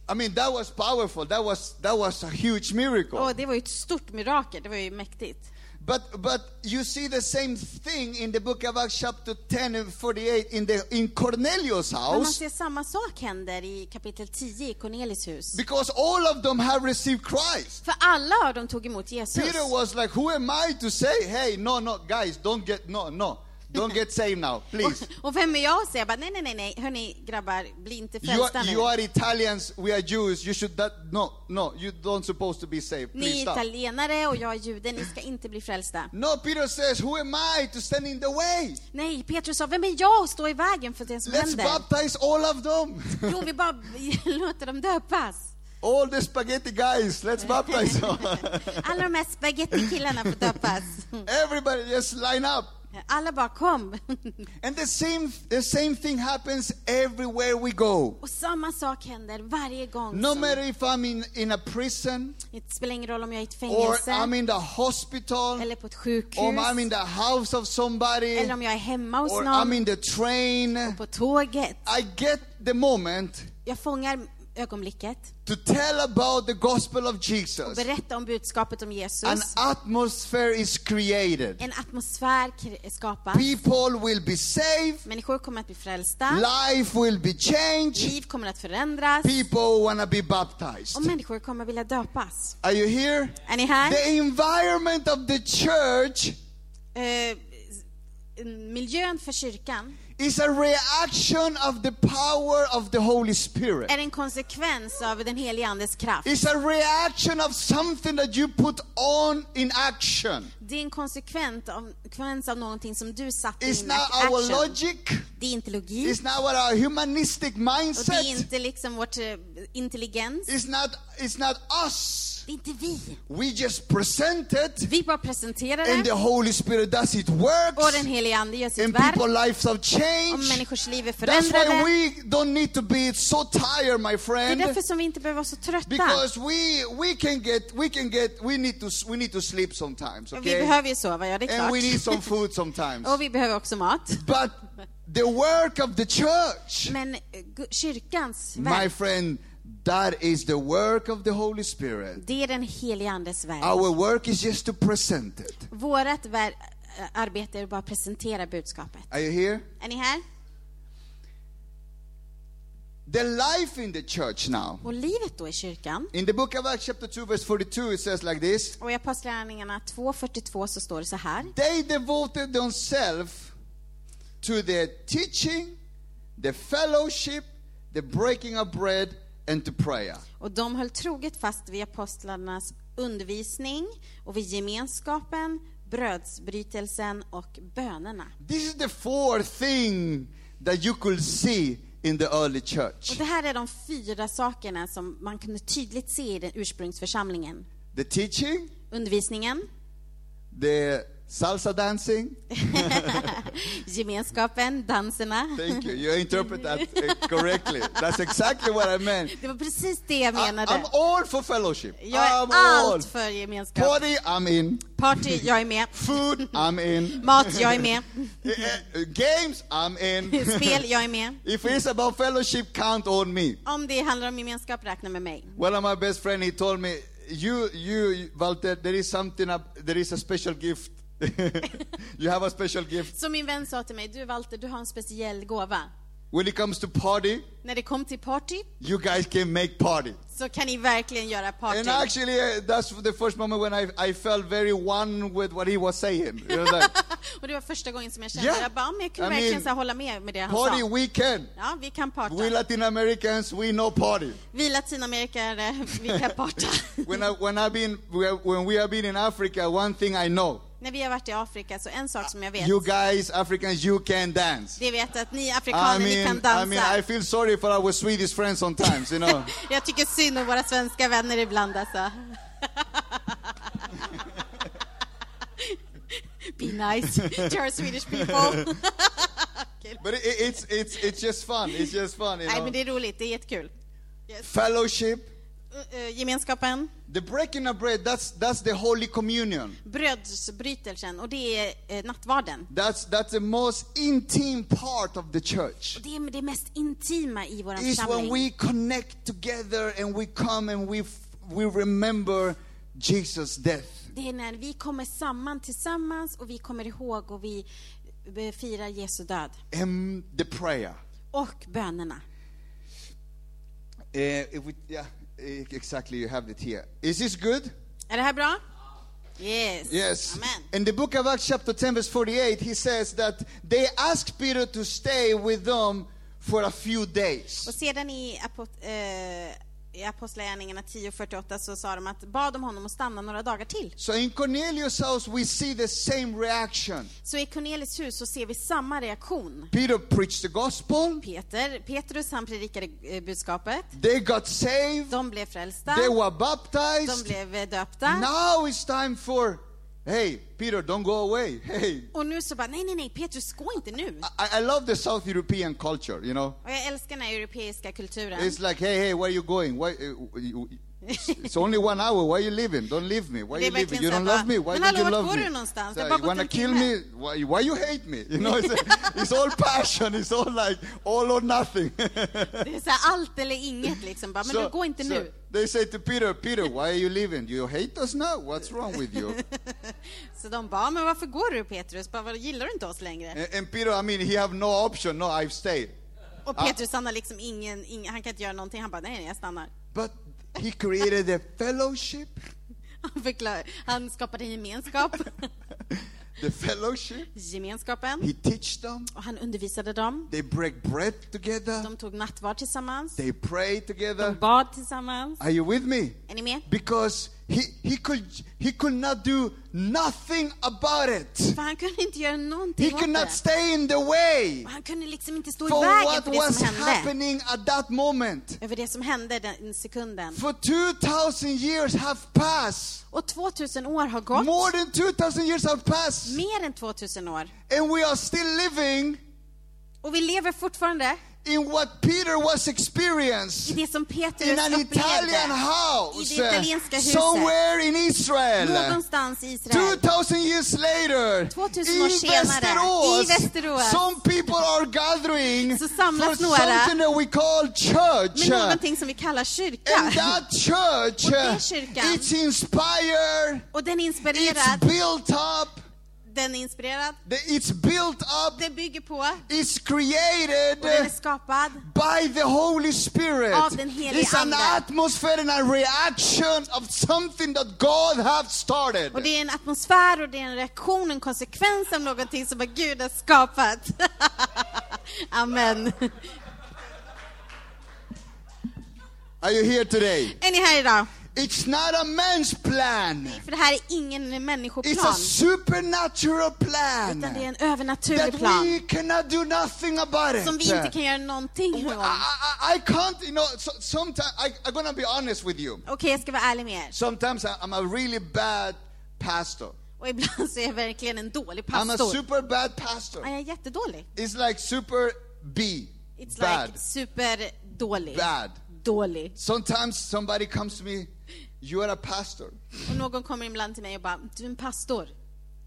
Speaker 2: I mean, that was powerful. That was, that was a huge miracle.
Speaker 3: Och det var ju ett stort mirakel, det var ju mäktigt.
Speaker 2: But but you see the same thing in the book of Acts chapter 10 and 48 in the in Cornelius'
Speaker 3: Men man
Speaker 2: house
Speaker 3: ser samma sak händer i kapitel 10 i Cornelis hus.
Speaker 2: because all of them have received Christ.
Speaker 3: För alla av dem tog emot Jesus.
Speaker 2: Peter was like, "Who am I to say, hey, no, no, guys, don't get no, no, don't get saved now, please."
Speaker 3: Och, och vem är jag att säga bara, nej, nej, nej, nej, hörni grabbar, bli inte
Speaker 2: You
Speaker 3: frälsta
Speaker 2: are, you
Speaker 3: nu.
Speaker 2: are Italians, we are Jews. You should that no, no, you don't supposed to be saved.
Speaker 3: Ni
Speaker 2: Please
Speaker 3: är
Speaker 2: stop.
Speaker 3: italienare och jag är jude, ni ska inte bli frälsta.
Speaker 2: No, Peter says, "Who am I to stand in the way?
Speaker 3: Nej, Petrus sa, vem är jag att stå i vägen för det som
Speaker 2: Let's
Speaker 3: händer?
Speaker 2: baptize all of them."
Speaker 3: Jo, vi bara låter dem döpas.
Speaker 2: all the spaghetti guys, let's baptize them.
Speaker 3: Alla de här spagettikillarna får döpas.
Speaker 2: Everybody just line up.
Speaker 3: Alla bara kom.
Speaker 2: And the same the same thing happens everywhere we go.
Speaker 3: Och samma sak händer varje gång.
Speaker 2: No
Speaker 3: som-
Speaker 2: matter if I'm in, in a prison
Speaker 3: Det spelar ingen roll om jag är i ett
Speaker 2: or
Speaker 3: fängelse,
Speaker 2: I'm in the hospital
Speaker 3: eller på ett sjukhus,
Speaker 2: or I'm in the house of somebody
Speaker 3: eller om jag är hemma hos
Speaker 2: or
Speaker 3: någon,
Speaker 2: I'm in the train.
Speaker 3: på tåget.
Speaker 2: I get the moment
Speaker 3: Jag fångar ögonblicket
Speaker 2: to tell about the gospel of
Speaker 3: och
Speaker 2: Jesus.
Speaker 3: berättar om budskapet om
Speaker 2: An
Speaker 3: Jesus.
Speaker 2: atmosphere is created.
Speaker 3: En atmosfär kr- skapas.
Speaker 2: People will be saved.
Speaker 3: Människor kommer att bli frälsta.
Speaker 2: Life will be changed.
Speaker 3: Liv kommer att förändras.
Speaker 2: People want to be
Speaker 3: Och
Speaker 2: baptized.
Speaker 3: människor kommer vilja döpas.
Speaker 2: Are you here?
Speaker 3: Är ni här?
Speaker 2: The environment of the church
Speaker 3: Eh, miljön för kyrkan
Speaker 2: is a reaction of the power of the Holy Spirit.
Speaker 3: är en konsekvens av den helige Andes kraft.
Speaker 2: It's a reaction of something that you put on in action.
Speaker 3: Det är en konsekvens av, konsekvens av någonting som du satte
Speaker 2: It's
Speaker 3: in i
Speaker 2: not our
Speaker 3: action.
Speaker 2: logic.
Speaker 3: Det är inte logik
Speaker 2: It's not our humanistic
Speaker 3: och det är
Speaker 2: mindset.
Speaker 3: inte liksom vårt eh, intelligens.
Speaker 2: It's not. It's not us.
Speaker 3: Det är inte vi.
Speaker 2: We just present it,
Speaker 3: Vi bara presenterar
Speaker 2: and
Speaker 3: det
Speaker 2: the Holy Spirit does it
Speaker 3: och
Speaker 2: works,
Speaker 3: den helige Ande gör sitt
Speaker 2: and
Speaker 3: verk
Speaker 2: people's lives have
Speaker 3: och
Speaker 2: changed.
Speaker 3: människors liv är
Speaker 2: That's why
Speaker 3: förändrade.
Speaker 2: we don't need to be so tired, my
Speaker 3: Det är
Speaker 2: friend.
Speaker 3: därför som vi inte behöver vara så trötta.
Speaker 2: Because we we can get we can get we need to we need to sleep sometimes,
Speaker 3: Vi
Speaker 2: okay?
Speaker 3: behöver ju sova, ja det är
Speaker 2: And we need some
Speaker 3: klart.
Speaker 2: food sometimes.
Speaker 3: Och vi behöver också mat.
Speaker 2: But the work of the church,
Speaker 3: Men eh, gu- kyrkans
Speaker 2: my
Speaker 3: verk,
Speaker 2: friend, that is the work of the Holy Spirit.
Speaker 3: det är den helige Andes verk.
Speaker 2: Our work is just to present it.
Speaker 3: Vårat ver- eh, arbete är bara att presentera budskapet.
Speaker 2: Are you here?
Speaker 3: Är ni här?
Speaker 2: The life in the church now.
Speaker 3: Och livet då i kyrkan?
Speaker 2: In the book of Acts chapter 2 verse 42 it says like this.
Speaker 3: Och i Apostlagärningarna 2.42 så står det så här.
Speaker 2: They devoted themselves to the teaching, the fellowship, the breaking of bread, and to prayer.
Speaker 3: Och de höll troget fast vid apostlarnas undervisning och vid gemenskapen, brödsbrytelsen och bönerna.
Speaker 2: This is the four thing that you could see in the early
Speaker 3: Och
Speaker 2: church.
Speaker 3: det här är de fyra sakerna som man kunde tydligt se i den ursprungsförsamlingen.
Speaker 2: The teaching,
Speaker 3: Undervisningen,
Speaker 2: the Salsa dancing?
Speaker 3: Gemenskapen, danserna.
Speaker 2: Thank you. You interpret that uh, correctly. That's exactly what I meant.
Speaker 3: Det var precis det jag
Speaker 2: I, am
Speaker 3: menade.
Speaker 2: all for fellowship.
Speaker 3: Jag är
Speaker 2: I'm all.
Speaker 3: allt för gemenskap.
Speaker 2: Party, I'm in.
Speaker 3: Party, jag är med.
Speaker 2: Food, I'm in.
Speaker 3: Mat, jag är med.
Speaker 2: Eh, eh, Games, I'm in.
Speaker 3: Spel, jag är med.
Speaker 2: If it's about fellowship, count on me.
Speaker 3: Om det handlar om gemenskap, räkna med mig.
Speaker 2: One of my best friend, he told me, you, you, Walter, there is something, up, there is a special gift. you have a special gift.
Speaker 3: Så min vän sa till mig, du Walter, du har en speciell gåva.
Speaker 2: When it comes to party,
Speaker 3: När det kom till party,
Speaker 2: you guys can make party.
Speaker 3: så kan ni verkligen göra party.
Speaker 2: And actually, uh, that's the first moment when I, I felt very one with what he was saying. It was like,
Speaker 3: Och det var första gången som jag kände,
Speaker 2: Yeah.
Speaker 3: jag bara, "Ja, men jag kunde
Speaker 2: I
Speaker 3: verkligen
Speaker 2: mean,
Speaker 3: så här hålla med med det han
Speaker 2: party
Speaker 3: sa.
Speaker 2: weekend.
Speaker 3: Ja, vi kan
Speaker 2: We
Speaker 3: parta.
Speaker 2: Latin Americans, we know party.
Speaker 3: Vi latinamerikare, vi kan parta.
Speaker 2: When I, when I've been when we have been in Africa, one thing I know:
Speaker 3: När vi har varit i Afrika, så en sak som jag vet,
Speaker 2: you guys, Africans, you can dance.
Speaker 3: det vet att ni
Speaker 2: I
Speaker 3: afrikaner, ni kan
Speaker 2: mean, I mean, I
Speaker 3: dansa.
Speaker 2: feel sorry for our Swedish friends sometimes, you know.
Speaker 3: Jag tycker synd om våra svenska vänner ibland alltså. Be nice to our Swedish people.
Speaker 2: but it, it's it's it's just fun. It's just fun. You
Speaker 3: Nej men det
Speaker 2: know?
Speaker 3: är roligt, det är jättekul.
Speaker 2: Fellowship,
Speaker 3: Eh, eh, Gemenskapen,
Speaker 2: the breaking of bread. That's that's the holy communion.
Speaker 3: brödsbrytelsen och det är eh, nattvarden.
Speaker 2: That's that's the most intime part of the church.
Speaker 3: Det är det mest intima i vår
Speaker 2: is when
Speaker 3: församling.
Speaker 2: we connect together and we come and we f- we remember Jesus' death.
Speaker 3: Det är när vi kommer samman tillsammans och vi kommer ihåg och vi eh, firar Jesu död.
Speaker 2: And the prayer.
Speaker 3: Och bönerna.
Speaker 2: Uh, if we, yeah, e- exactly. You have it here. Is this good?
Speaker 3: Är det här bra? Yes.
Speaker 2: Yes.
Speaker 3: Amen.
Speaker 2: In the book of Acts, chapter 10, verse 48, he says that they asked Peter to stay with them for a few
Speaker 3: Och
Speaker 2: days.
Speaker 3: sedan i, apot- eh, i Apostlagärningarna 10.48 så sa de att bad om honom att stanna några dagar till.
Speaker 2: So in Cornelius' house, we see the same reaction.
Speaker 3: Så i Cornelis hus så ser vi samma reaktion.
Speaker 2: Peter preached the gospel.
Speaker 3: Peter, Petrus han predikade eh, budskapet.
Speaker 2: They got saved.
Speaker 3: De blev frälsta.
Speaker 2: They were
Speaker 3: De
Speaker 2: baptized.
Speaker 3: blev eh, döpta.
Speaker 2: Now it's time for, hey, Peter, don't go away. Hey,
Speaker 3: Och nu så bara, nej, nej, nej, Petrus, gå inte nu.
Speaker 2: I, I love the South European culture, you know?
Speaker 3: Och jag älskar den här europeiska kulturen.
Speaker 2: It's like, hey, hey, where are you going? Why, uh, you, it's it's only one hour. Why are you leaving? Don't leave me. Why are
Speaker 3: Det är
Speaker 2: you leaving?
Speaker 3: verkligen
Speaker 2: You
Speaker 3: så här
Speaker 2: don't love
Speaker 3: bara,
Speaker 2: me. Why
Speaker 3: "Men
Speaker 2: don't you
Speaker 3: hallå, vart
Speaker 2: love
Speaker 3: går
Speaker 2: me?
Speaker 3: du någonstans?
Speaker 2: So
Speaker 3: Jag bara
Speaker 2: you
Speaker 3: gått
Speaker 2: wanna
Speaker 3: en
Speaker 2: kill
Speaker 3: timme."
Speaker 2: me? Why, why you hate me? You know, it's, it's all passion. It's all like all or nothing.
Speaker 3: Det är så här allt eller inget liksom. Bara, men
Speaker 2: So-
Speaker 3: du, gå inte
Speaker 2: so
Speaker 3: nu.
Speaker 2: They say to Peter, Peter, why are you leaving? You hate us now? What's wrong with you?
Speaker 3: Så de bara, men varför går du Petrus? Bara, "Vad, gillar du inte oss längre?
Speaker 2: and, and Peter, I mean, he have no option. No, I've stayed.
Speaker 3: Och
Speaker 2: ah.
Speaker 3: Petrus han har liksom ingen, ingen, han kan inte göra någonting. Han bara, nej, nej, jag stannar.
Speaker 2: But he created a fellowship,
Speaker 3: Han, förklar, han skapade en gemenskap.
Speaker 2: the fellowship.
Speaker 3: Gemenskapen.
Speaker 2: He teach them.
Speaker 3: Och han undervisade dem.
Speaker 2: They break bread together.
Speaker 3: De tog nattvard tillsammans.
Speaker 2: They pray
Speaker 3: De
Speaker 2: together.
Speaker 3: bad tillsammans.
Speaker 2: Are you with me?
Speaker 3: Är ni med?
Speaker 2: Because he, he could he could not do nothing about it.
Speaker 3: För han kunde inte göra
Speaker 2: He
Speaker 3: någonting åt
Speaker 2: could not
Speaker 3: det.
Speaker 2: stay in the way
Speaker 3: Och han kunde liksom inte stå i
Speaker 2: for
Speaker 3: vägen
Speaker 2: what
Speaker 3: för det
Speaker 2: was
Speaker 3: som hände.
Speaker 2: happening at that moment.
Speaker 3: Över det som hände den sekunden.
Speaker 2: For 2,000 years have passed.
Speaker 3: Och 2000 år har gått.
Speaker 2: More than 2,000 years have passed.
Speaker 3: Mer än 2000 år.
Speaker 2: And we are still living
Speaker 3: Och vi lever fortfarande
Speaker 2: in what Peter was experienced.
Speaker 3: i det som Petrus
Speaker 2: in an Italian
Speaker 3: upplevde.
Speaker 2: house, eh,
Speaker 3: I det italienska huset.
Speaker 2: somewhere in Israel.
Speaker 3: Någonstans i Israel.
Speaker 2: 2000 years later,
Speaker 3: 2000 år
Speaker 2: i
Speaker 3: senare,
Speaker 2: Västerås,
Speaker 3: i Västerås.
Speaker 2: some people are gathering
Speaker 3: Så
Speaker 2: for
Speaker 3: samlas några.
Speaker 2: something that we call church.
Speaker 3: Med någonting som vi kallar
Speaker 2: And
Speaker 3: kyrka.
Speaker 2: that church,
Speaker 3: Och den kyrkan-
Speaker 2: it's inspired,
Speaker 3: Och den är
Speaker 2: it's
Speaker 3: inspirerad.
Speaker 2: built up,
Speaker 3: Den är inspirerad.
Speaker 2: the- it's built up,
Speaker 3: Den bygger på.
Speaker 2: it's
Speaker 3: Och den är
Speaker 2: created
Speaker 3: skapad.
Speaker 2: by the Holy Spirit.
Speaker 3: Av den helige
Speaker 2: It's an
Speaker 3: Ande.
Speaker 2: atmosphere and a reaction of something that God has started.
Speaker 3: Och det är en atmosfär och det är en reaktion, en konsekvens av någonting som bara Gud har skapat. Amen.
Speaker 2: Are you here today?
Speaker 3: Är ni här idag?
Speaker 2: It's not a man's plan.
Speaker 3: För det här är ingen
Speaker 2: It's a
Speaker 3: människoplan.
Speaker 2: supernatural plan
Speaker 3: Utan det är en
Speaker 2: that
Speaker 3: övernaturlig
Speaker 2: we
Speaker 3: plan.
Speaker 2: cannot do nothing about it.
Speaker 3: Som vi inte kan göra någonting
Speaker 2: I,
Speaker 3: om. Okej,
Speaker 2: I, I- I can't, you know, so, sometimes, I, I'm gonna be honest with you.
Speaker 3: jag ska vara ärlig med er.
Speaker 2: Sometimes I- I'm a really bad pastor.
Speaker 3: Och ibland så är jag verkligen en dålig
Speaker 2: I'm a
Speaker 3: pastor.
Speaker 2: super bad pastor.
Speaker 3: Ja, Jag är jättedålig.
Speaker 2: It's like super B.
Speaker 3: It's
Speaker 2: bad.
Speaker 3: like superdålig.
Speaker 2: Bad.
Speaker 3: Dålig.
Speaker 2: Sometimes somebody comes to me, you are a pastor.
Speaker 3: Och någon kommer ibland till mig och bara, du är en pastor.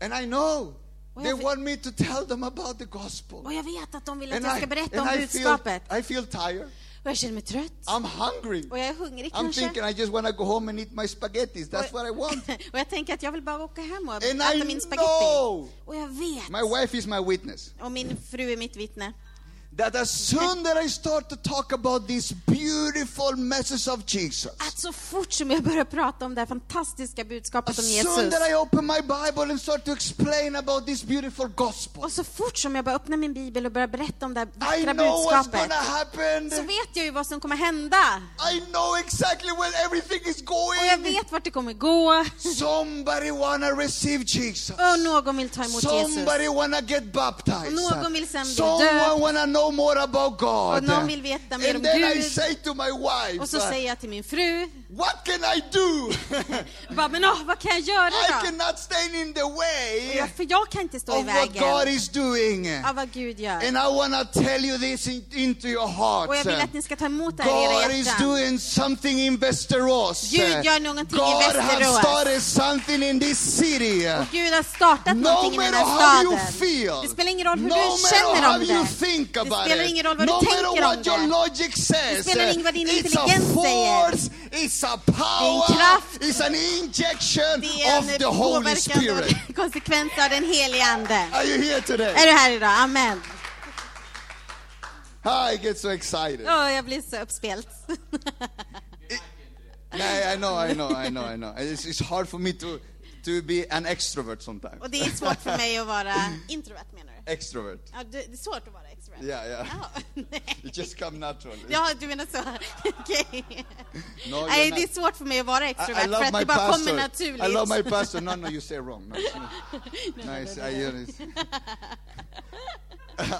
Speaker 2: And I know
Speaker 3: Well,
Speaker 2: they
Speaker 3: if it-
Speaker 2: want me to tell them about the gospel.
Speaker 3: Och jag vet att de vill att
Speaker 2: And
Speaker 3: jag
Speaker 2: I,
Speaker 3: ska berätta
Speaker 2: and
Speaker 3: om
Speaker 2: I, feel,
Speaker 3: budskapet.
Speaker 2: I feel tired.
Speaker 3: Och jag känner mig trött.
Speaker 2: I'm hungry.
Speaker 3: Och jag är hungrig
Speaker 2: I'm
Speaker 3: kanske.
Speaker 2: thinking I just want to go home and eat my spaghettis. That's
Speaker 3: och,
Speaker 2: what I want.
Speaker 3: och jag tänker att jag vill bara åka hem och
Speaker 2: And
Speaker 3: äta
Speaker 2: I
Speaker 3: min spagetti.
Speaker 2: know.
Speaker 3: Och jag vet.
Speaker 2: My wife is my witness.
Speaker 3: Och min fru är mitt vittne.
Speaker 2: That as soon that I start to talk about these beautiful messages of Jesus,
Speaker 3: Att så fort som jag börjar prata om det här fantastiska budskapet om
Speaker 2: as soon
Speaker 3: Jesus.
Speaker 2: that I open my Bible and start to explain about this beautiful gospel,
Speaker 3: Och så fort som jag bara öppnar min bibel och börjar berätta om det här
Speaker 2: I
Speaker 3: vackra
Speaker 2: know what's
Speaker 3: budskapet.
Speaker 2: gonna happen.
Speaker 3: Så vet jag ju vad som kommer hända.
Speaker 2: I know exactly where everything is
Speaker 3: Och jag
Speaker 2: going.
Speaker 3: vet vart det kommer gå.
Speaker 2: Somebody wanna receive Jesus.
Speaker 3: Och någon vill ta emot Jesus.
Speaker 2: Somebody wanna get baptized.
Speaker 3: Någon vill sen bli
Speaker 2: Someone
Speaker 3: döpt.
Speaker 2: wanna know more about God.
Speaker 3: Och någon vill veta mer
Speaker 2: And
Speaker 3: om
Speaker 2: then I
Speaker 3: Gud.
Speaker 2: say to my wife,
Speaker 3: Och så säger jag till min fru,
Speaker 2: what can I do?
Speaker 3: jag bara, men åh, vad kan jag göra
Speaker 2: I
Speaker 3: då?
Speaker 2: cannot stand in the way
Speaker 3: Ja, för jag kan inte stå i
Speaker 2: of what
Speaker 3: vägen
Speaker 2: God is doing.
Speaker 3: av vad Gud gör.
Speaker 2: And I wanna tell you this in, into your heart.
Speaker 3: Och jag vill att ni ska ta emot det här i
Speaker 2: God
Speaker 3: era
Speaker 2: is
Speaker 3: hjärtan.
Speaker 2: doing something in Västerås.
Speaker 3: Gud gör någonting i
Speaker 2: God has
Speaker 3: Västerås.
Speaker 2: started something in this city.
Speaker 3: Gud har startat
Speaker 2: No
Speaker 3: någonting i den
Speaker 2: matter how
Speaker 3: här
Speaker 2: you
Speaker 3: staden.
Speaker 2: feel.
Speaker 3: Det spelar ingen roll hur
Speaker 2: no
Speaker 3: du
Speaker 2: matter
Speaker 3: känner
Speaker 2: how
Speaker 3: om det.
Speaker 2: you think
Speaker 3: Det
Speaker 2: about
Speaker 3: spelar
Speaker 2: it.
Speaker 3: ingen roll vad
Speaker 2: no
Speaker 3: du
Speaker 2: matter
Speaker 3: tänker om
Speaker 2: what your
Speaker 3: det.
Speaker 2: logic says.
Speaker 3: spelar ingen roll vad din
Speaker 2: it's a
Speaker 3: intelligens säger.
Speaker 2: force, it's a power,
Speaker 3: kraft.
Speaker 2: it's an injection
Speaker 3: Det är
Speaker 2: of
Speaker 3: en
Speaker 2: the Holy
Speaker 3: påverkan
Speaker 2: Spirit.
Speaker 3: och konsekvens av den helige Ande.
Speaker 2: Are you here today?
Speaker 3: Är du här idag? Amen.
Speaker 2: Ah, I get so excited.
Speaker 3: Åh, jag blir så uppspelt.
Speaker 2: I, I know, I know, I know, I know. It's, it's hard for me to, to be an extrovert sometimes.
Speaker 3: Och det är svårt för mig att vara introvert menar du?
Speaker 2: Extrovert.
Speaker 3: Ja, du- det är svårt att vara extrovert?
Speaker 2: Yeah, yeah.
Speaker 3: Jaha,
Speaker 2: It
Speaker 3: nej.
Speaker 2: just come natural.
Speaker 3: Ja, du menar så. Okej.
Speaker 2: No, you're
Speaker 3: Nej, det är
Speaker 2: not.
Speaker 3: svårt för mig att vara
Speaker 2: I,
Speaker 3: extrovert
Speaker 2: I
Speaker 3: för
Speaker 2: love
Speaker 3: att
Speaker 2: my
Speaker 3: det bara kommer
Speaker 2: pastor.
Speaker 3: naturligt.
Speaker 2: I love my pastor. No, no, you say wrong. No, it's not. nice. Are you,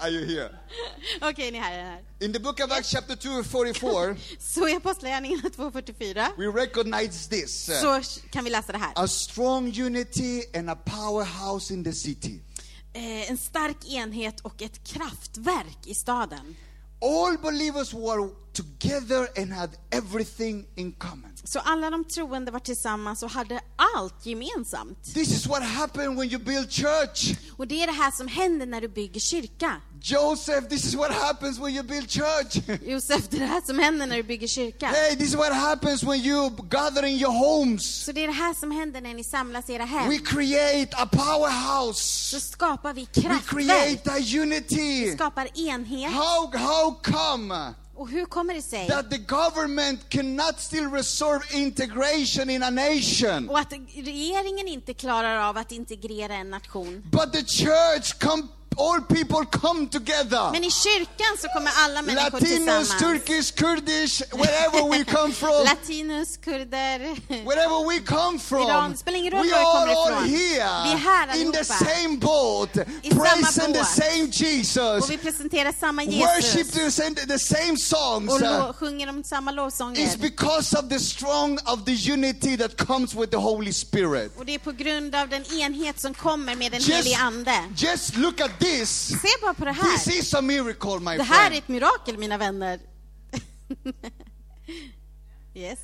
Speaker 2: are you here?
Speaker 3: Okej, ni här är här.
Speaker 2: In the book of Acts, chapter 2, 44,
Speaker 3: Så i Apostlagärningarna 2.44
Speaker 2: we recognize this uh,
Speaker 3: så kan vi läsa det här.
Speaker 2: a strong unity and a powerhouse in the city.
Speaker 3: Eh, en stark enhet och ett kraftverk i staden.
Speaker 2: All believers were together and had everything in common.
Speaker 3: Så alla de troende var tillsammans och hade allt gemensamt.
Speaker 2: This is what happened when you build church.
Speaker 3: Och det är det här som händer när du bygger kyrka.
Speaker 2: Joseph, this is what happens when you build church.
Speaker 3: Josef, det är det här som händer när du bygger kyrka.
Speaker 2: hey, this is what happens when you gather in your homes.
Speaker 3: Så det är det här som händer när ni samlas i era hem.
Speaker 2: We create a
Speaker 3: Så
Speaker 2: powerhouse.
Speaker 3: skapar vi
Speaker 2: We
Speaker 3: kraftverk,
Speaker 2: create a unity.
Speaker 3: skapar enhet.
Speaker 2: How, how come
Speaker 3: Och hur kommer det sig
Speaker 2: that the government cannot still resolve integration in a nation?
Speaker 3: och att regeringen inte klarar av att integrera en nation?
Speaker 2: But the church, come, all people come together.
Speaker 3: Men i kyrkan så kommer alla människor
Speaker 2: Latinos,
Speaker 3: tillsammans.
Speaker 2: Turkish, Kurdish, wherever we come from,
Speaker 3: Latinos, kurder,
Speaker 2: Wherever we come from,
Speaker 3: Iran. Spelar ingen roll
Speaker 2: we
Speaker 3: var vi
Speaker 2: are
Speaker 3: kommer
Speaker 2: all
Speaker 3: ifrån. Vi är
Speaker 2: here
Speaker 3: här
Speaker 2: in the
Speaker 3: allihopa.
Speaker 2: same boat,
Speaker 3: samma
Speaker 2: praising the
Speaker 3: båt.
Speaker 2: same
Speaker 3: och
Speaker 2: Jesus,
Speaker 3: vi presenterar samma
Speaker 2: worship
Speaker 3: Jesus
Speaker 2: the same, the same songs.
Speaker 3: och lo- sjunger om samma
Speaker 2: It's
Speaker 3: lovsånger.
Speaker 2: because of the strong of the unity that comes with the Holy Spirit.
Speaker 3: Och det är på grund av den enhet som kommer med den
Speaker 2: Just,
Speaker 3: helige Ande.
Speaker 2: just look at this.
Speaker 3: Se bara på det
Speaker 2: This
Speaker 3: här.
Speaker 2: is a miracle, my
Speaker 3: Det här är
Speaker 2: friend.
Speaker 3: ett mirakel, mina vänner. Yes.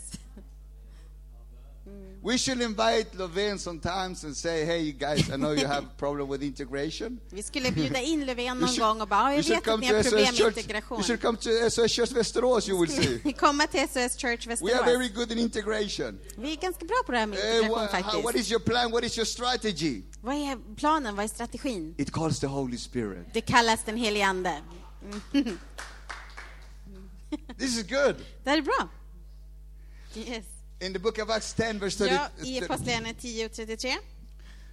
Speaker 2: We should invite Levin sometimes and say, "Hey, you guys, I know you have problem with integration.
Speaker 3: Vi skulle bjuda in Löfven
Speaker 2: You
Speaker 3: någon
Speaker 2: should,
Speaker 3: gång och bara, "Ja,
Speaker 2: you
Speaker 3: jag
Speaker 2: should
Speaker 3: vet att
Speaker 2: come
Speaker 3: ni har
Speaker 2: to
Speaker 3: problem
Speaker 2: SOS
Speaker 3: med
Speaker 2: Church.
Speaker 3: integration.
Speaker 2: You should come to SOS Church Västerås. You will see."
Speaker 3: Komma till SOS Church
Speaker 2: We are very
Speaker 3: Västerås.
Speaker 2: good in integration.
Speaker 3: Vi är ganska bra på det här med
Speaker 2: Eh,
Speaker 3: integration
Speaker 2: wha- how- what
Speaker 3: faktiskt.
Speaker 2: is your plan? What is your strategy?
Speaker 3: Vad är planen? Vad är strategin?
Speaker 2: It calls the Holy Spirit.
Speaker 3: Det kallas den helige Ande.
Speaker 2: This is good.
Speaker 3: Det här är bra. Yes.
Speaker 2: In the book of Acts 10, verse 30.
Speaker 3: Ja, i Apostlagärningarna 10 och 33.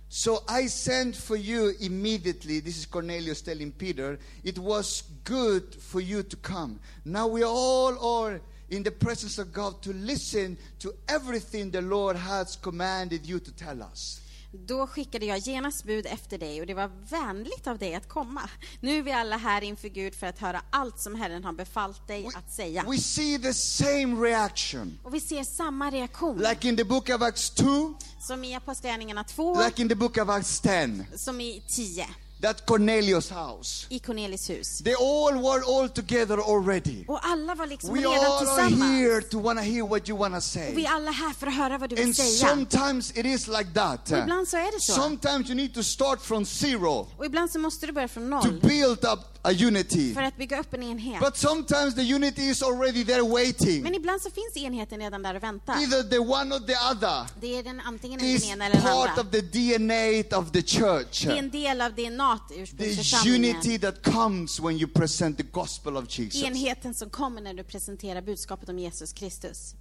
Speaker 2: So I sent for you immediately. This is Cornelius telling Peter, it was good for you to come. Now we all are in the presence of God to listen to everything the Lord has commanded you to tell us.
Speaker 3: Då skickade jag genast bud efter dig och det var vänligt av dig att komma. Nu är vi alla här inför Gud för att höra allt som Herren har befallt dig att säga.
Speaker 2: we see the same reaction.
Speaker 3: Och vi ser samma reaktion
Speaker 2: Like in the book of Acts 2,
Speaker 3: som i Apostlagärningarna 2,
Speaker 2: like in the book of Acts 10,
Speaker 3: som i 10,
Speaker 2: that Cornelius house.
Speaker 3: i Cornelis hus.
Speaker 2: They all were all together already.
Speaker 3: Och alla var liksom
Speaker 2: We
Speaker 3: redan
Speaker 2: all are
Speaker 3: tillsammans.
Speaker 2: here to want to hear what you want to
Speaker 3: Och vi
Speaker 2: say.
Speaker 3: är alla här för att höra vad du vill
Speaker 2: And
Speaker 3: säga.
Speaker 2: sometimes it is like that.
Speaker 3: Och ibland så är det så.
Speaker 2: Sometimes you need to start from zero
Speaker 3: Och ibland så måste du börja från
Speaker 2: to
Speaker 3: noll
Speaker 2: build up a unity.
Speaker 3: för att bygga upp en enhet.
Speaker 2: But sometimes the unity is already there waiting.
Speaker 3: Men ibland så finns enheten redan där och väntar.
Speaker 2: Either the one or the other
Speaker 3: Det är den antingen den
Speaker 2: is
Speaker 3: ena eller den
Speaker 2: part
Speaker 3: andra.
Speaker 2: of the DNA of the church.
Speaker 3: Det är en del av DNA t-
Speaker 2: The
Speaker 3: ursprungsförsamlingen.
Speaker 2: unity that comes when you present the gospel of Jesus.
Speaker 3: Enheten som kommer när du presenterar budskapet om Jesus Kristus.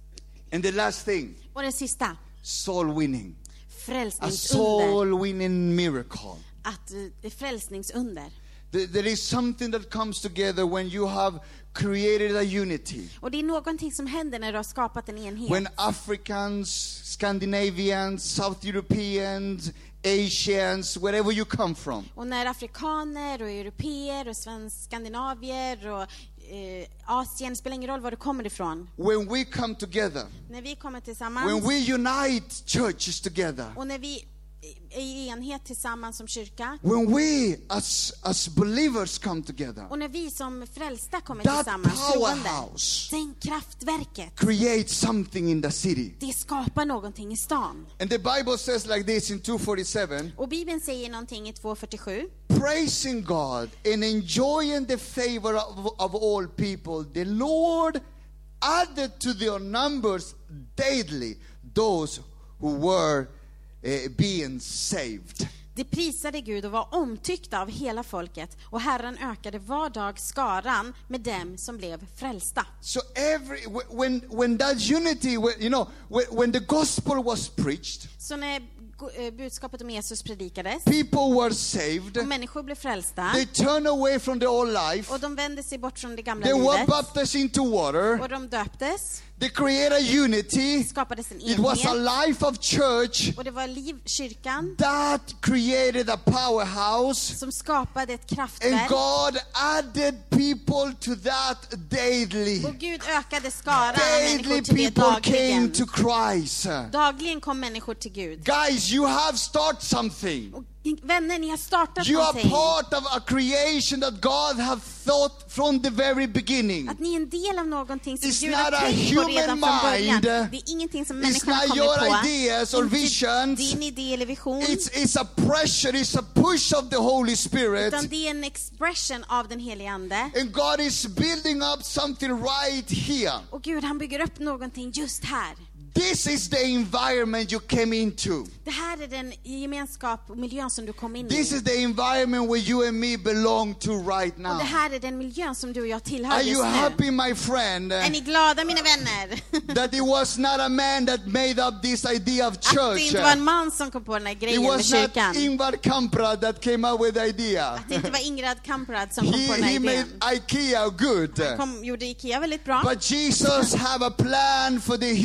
Speaker 2: And the last thing,
Speaker 3: Och den sista,
Speaker 2: soul winning. A
Speaker 3: frälsningsunder.
Speaker 2: soul winning miracle.
Speaker 3: Att, eh, det är frälsningsunder.
Speaker 2: There there is something that comes together when you have created a unity.
Speaker 3: Och det är någonting som händer när du har skapat en enhet.
Speaker 2: When Africans, Scandinavians, South Europeans, Asians, wherever you come from,
Speaker 3: Och när afrikaner och europeer och svensk, skandinavier och eh, Asien, det spelar ingen roll var du kommer ifrån.
Speaker 2: when we come together,
Speaker 3: När vi kommer tillsammans
Speaker 2: when we unite churches together,
Speaker 3: och när vi i- är i enhet tillsammans som kyrka
Speaker 2: when we as, as believers come together,
Speaker 3: och när vi som frälsta kommer
Speaker 2: That
Speaker 3: tillsammans, troende,
Speaker 2: powerhouse.
Speaker 3: den kraftverket,
Speaker 2: create something in the city.
Speaker 3: det skapar någonting i stan.
Speaker 2: And the Bible says like this in 247,
Speaker 3: Och Bibeln säger någonting i 2.47.
Speaker 2: praising God and enjoying the favor of, of all people, the Lord added to their numbers daily those who were eh, being saved.
Speaker 3: Det prisade Gud och var omtyckta av hela folket och Herren ökade var dag skaran med dem som blev frälsta.
Speaker 2: So every wh- when when that unity, when, you know, when, when the gospel was preached,
Speaker 3: Så när go- eh, budskapet om Jesus predikades
Speaker 2: people were saved.
Speaker 3: och människor blev frälsta
Speaker 2: They turned away from their old life.
Speaker 3: och de vände sig bort från det gamla
Speaker 2: They were
Speaker 3: livet
Speaker 2: baptized into water.
Speaker 3: och de döptes,
Speaker 2: They created unity.
Speaker 3: skapades en
Speaker 2: It was a
Speaker 3: enhet
Speaker 2: life of church
Speaker 3: och det var liv, kyrkan
Speaker 2: that created a powerhouse.
Speaker 3: som skapade ett
Speaker 2: And
Speaker 3: kraftverk
Speaker 2: God added people to that daily.
Speaker 3: och Gud ökade skaran av människor
Speaker 2: Daily
Speaker 3: till det
Speaker 2: people came
Speaker 3: dagligen.
Speaker 2: to Christ.
Speaker 3: Dagligen kom människor till Gud.
Speaker 2: Guys, you have started something.
Speaker 3: Och ni- vänner, ni har startat
Speaker 2: You are
Speaker 3: någonting.
Speaker 2: part of a creation that God have thought from the very beginning.
Speaker 3: Att ni är en del av någonting som
Speaker 2: It's
Speaker 3: Gud har
Speaker 2: not a
Speaker 3: tänkt på
Speaker 2: human
Speaker 3: redan från början.
Speaker 2: mind.
Speaker 3: Det är ingenting som människan
Speaker 2: not
Speaker 3: har kommit
Speaker 2: your
Speaker 3: på.
Speaker 2: ideas or
Speaker 3: Inte
Speaker 2: visions.
Speaker 3: din idé eller vision.
Speaker 2: It's, it's a pressure, it's a push of the Holy Spirit.
Speaker 3: Utan det är en expression av den helige Ande.
Speaker 2: And God is building up something right here.
Speaker 3: Och Gud han bygger upp någonting just här.
Speaker 2: This is the environment you came into.
Speaker 3: Det här är den gemenskap och miljön som du kom in
Speaker 2: This
Speaker 3: i.
Speaker 2: is the environment where you and me belong to right
Speaker 3: Och det
Speaker 2: now.
Speaker 3: här är den miljön som du och jag tillhör
Speaker 2: Are you
Speaker 3: just nu.
Speaker 2: happy, my friend,
Speaker 3: Är ni glada mina vänner?
Speaker 2: that it was not a man that made up this idea of
Speaker 3: Att det
Speaker 2: church?
Speaker 3: inte var en man som kom på den här
Speaker 2: It
Speaker 3: grejen med
Speaker 2: was not
Speaker 3: kyrkan.
Speaker 2: Ingvar Kamprad that came up with the idea.
Speaker 3: Att det inte var Ingrid Kamprad som kom
Speaker 2: He,
Speaker 3: på den här
Speaker 2: he made
Speaker 3: idén.
Speaker 2: IKEA good.
Speaker 3: Kom, gjorde Ikea väldigt bra.
Speaker 2: But Jesus have a plan for the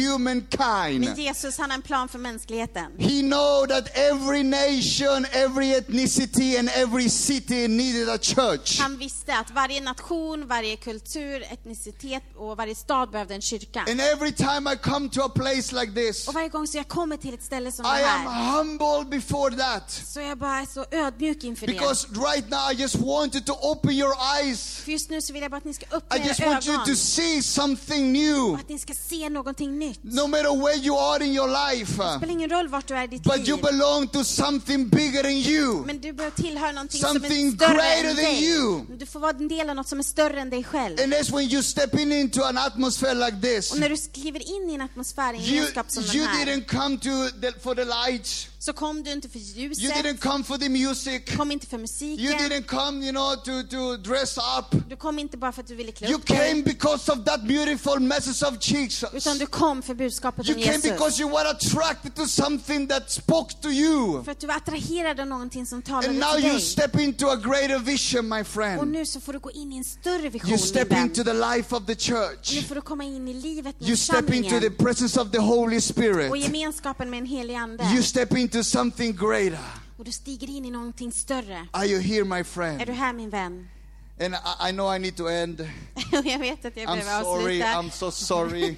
Speaker 3: Men
Speaker 2: humankind.
Speaker 3: Jesus han har en plan för mänskligheten.
Speaker 2: He know that every nation, every ethnicity and every city needed a church.
Speaker 3: Han visste att varje nation, varje kultur, etnicitet och varje stad behövde en kyrka.
Speaker 2: And every time I come to a place like this,
Speaker 3: Och varje gång som jag kommer till ett ställe som det
Speaker 2: I am
Speaker 3: här
Speaker 2: humble before that.
Speaker 3: så är jag bara så ödmjuk inför det.
Speaker 2: Because right now I just want you to open your eyes.
Speaker 3: För just nu så vill jag bara att ni ska öppna
Speaker 2: I
Speaker 3: era
Speaker 2: just want you
Speaker 3: ögon
Speaker 2: to see something new.
Speaker 3: och att ni ska se någonting nytt. Det
Speaker 2: No matter where you are in your life.
Speaker 3: spelar ingen roll vart du är i ditt
Speaker 2: But you
Speaker 3: liv,
Speaker 2: belong to something bigger than you.
Speaker 3: men du bör tillhöra någonting som
Speaker 2: Something
Speaker 3: är större
Speaker 2: greater
Speaker 3: än
Speaker 2: than
Speaker 3: dig.
Speaker 2: you.
Speaker 3: Du får vara en del av något som är större än dig själv.
Speaker 2: And that's when you step in into an atmosphere like
Speaker 3: Och
Speaker 2: this.
Speaker 3: när du kliver in i en atmosfär, i en
Speaker 2: You,
Speaker 3: gemenskap som
Speaker 2: you
Speaker 3: den här,
Speaker 2: didn't come to the, for the lights.
Speaker 3: så kom du inte för
Speaker 2: You
Speaker 3: ljuset,
Speaker 2: didn't come for the music.
Speaker 3: kom inte för
Speaker 2: You
Speaker 3: musiken,
Speaker 2: didn't come, you know, to, to dress up.
Speaker 3: Du kom inte bara för att du ville klä
Speaker 2: You
Speaker 3: upp dig,
Speaker 2: came because of that beautiful message of
Speaker 3: utan
Speaker 2: Jesus.
Speaker 3: du kom för budskapet
Speaker 2: You
Speaker 3: om
Speaker 2: came
Speaker 3: Jesus.
Speaker 2: because you were attracted to something that spoke to you.
Speaker 3: För att du var attraherad av någonting som talade
Speaker 2: And now
Speaker 3: till
Speaker 2: you
Speaker 3: dig.
Speaker 2: step into a greater vision, my
Speaker 3: Och
Speaker 2: friend.
Speaker 3: nu så får du gå in i en större vision,
Speaker 2: You
Speaker 3: min
Speaker 2: step
Speaker 3: vän.
Speaker 2: into the life of the
Speaker 3: Nu
Speaker 2: church.
Speaker 3: får du komma in i livet med
Speaker 2: You step into the
Speaker 3: församlingen
Speaker 2: presence of the Holy
Speaker 3: och
Speaker 2: Spirit.
Speaker 3: gemenskapen med en helig Ande.
Speaker 2: You step into something greater.
Speaker 3: Och du stiger in i någonting större.
Speaker 2: Are you here, my
Speaker 3: Är du
Speaker 2: friend?
Speaker 3: här min vän?
Speaker 2: And I, I know I need to end.
Speaker 3: Och jag vet att jag
Speaker 2: I'm
Speaker 3: behöver
Speaker 2: sorry.
Speaker 3: avsluta.
Speaker 2: I'm so sorry.
Speaker 3: jag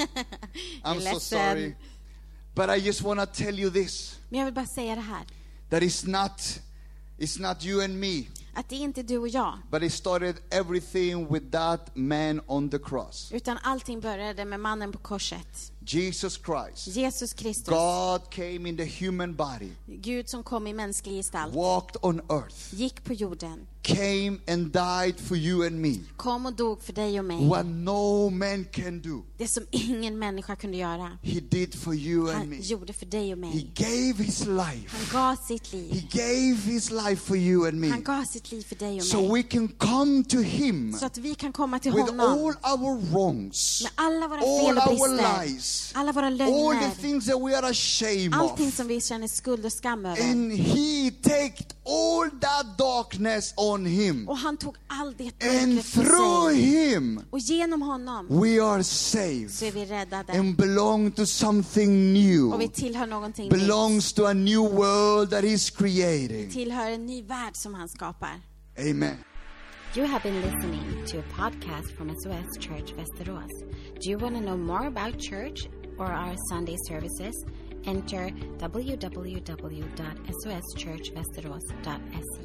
Speaker 2: I'm
Speaker 3: är
Speaker 2: so
Speaker 3: ledsen.
Speaker 2: sorry. But I just want to tell you this
Speaker 3: Men jag vill bara säga det här.
Speaker 2: that it's not, it's not you and me,
Speaker 3: Att det är inte du och jag.
Speaker 2: but it started everything with that man on the cross.
Speaker 3: Utan allting började med mannen på korset.
Speaker 2: Jesus Christ.
Speaker 3: Jesus Kristus.
Speaker 2: God came in the human body,
Speaker 3: Gud som kom i mänsklig gestalt.
Speaker 2: walked on earth,
Speaker 3: Gick på jorden.
Speaker 2: came and died for you and me.
Speaker 3: Kom och dog för dig och mig.
Speaker 2: What no man can do,
Speaker 3: Det som ingen människa kunde göra.
Speaker 2: he did for you and
Speaker 3: Han
Speaker 2: me.
Speaker 3: gjorde för dig och
Speaker 2: He
Speaker 3: mig.
Speaker 2: gave his
Speaker 3: Han
Speaker 2: life.
Speaker 3: gav sitt
Speaker 2: He
Speaker 3: liv.
Speaker 2: gave his life for you and me.
Speaker 3: Han gav sitt liv för dig
Speaker 2: So
Speaker 3: och mig.
Speaker 2: we can come to him
Speaker 3: Så att vi kan komma till
Speaker 2: with all
Speaker 3: honom.
Speaker 2: our wrongs,
Speaker 3: Med alla våra fel
Speaker 2: all
Speaker 3: och
Speaker 2: our
Speaker 3: brister.
Speaker 2: lies,
Speaker 3: Alla våra
Speaker 2: all the
Speaker 3: lögner.
Speaker 2: things that we are ashamed
Speaker 3: Allting
Speaker 2: of.
Speaker 3: som vi känner skuld och skam över.
Speaker 2: And he take all that darkness on him.
Speaker 3: Och han tog all det
Speaker 2: And
Speaker 3: mörkret på
Speaker 2: through
Speaker 3: sig.
Speaker 2: him,
Speaker 3: Och genom honom
Speaker 2: we are
Speaker 3: så är
Speaker 2: saved Oh,
Speaker 3: vi räddade.
Speaker 2: and belong to something
Speaker 3: Och vi
Speaker 2: new.
Speaker 3: tillhör någonting nytt.
Speaker 2: Belongs to a new world that he's creating.
Speaker 3: Tillhör en ny värld som han skapar.
Speaker 2: Amen.
Speaker 1: You have been listening to a podcast from SOS Church Vesteros. Do you want to know more about church or our Sunday services? Enter www.soschurchvesteros.se.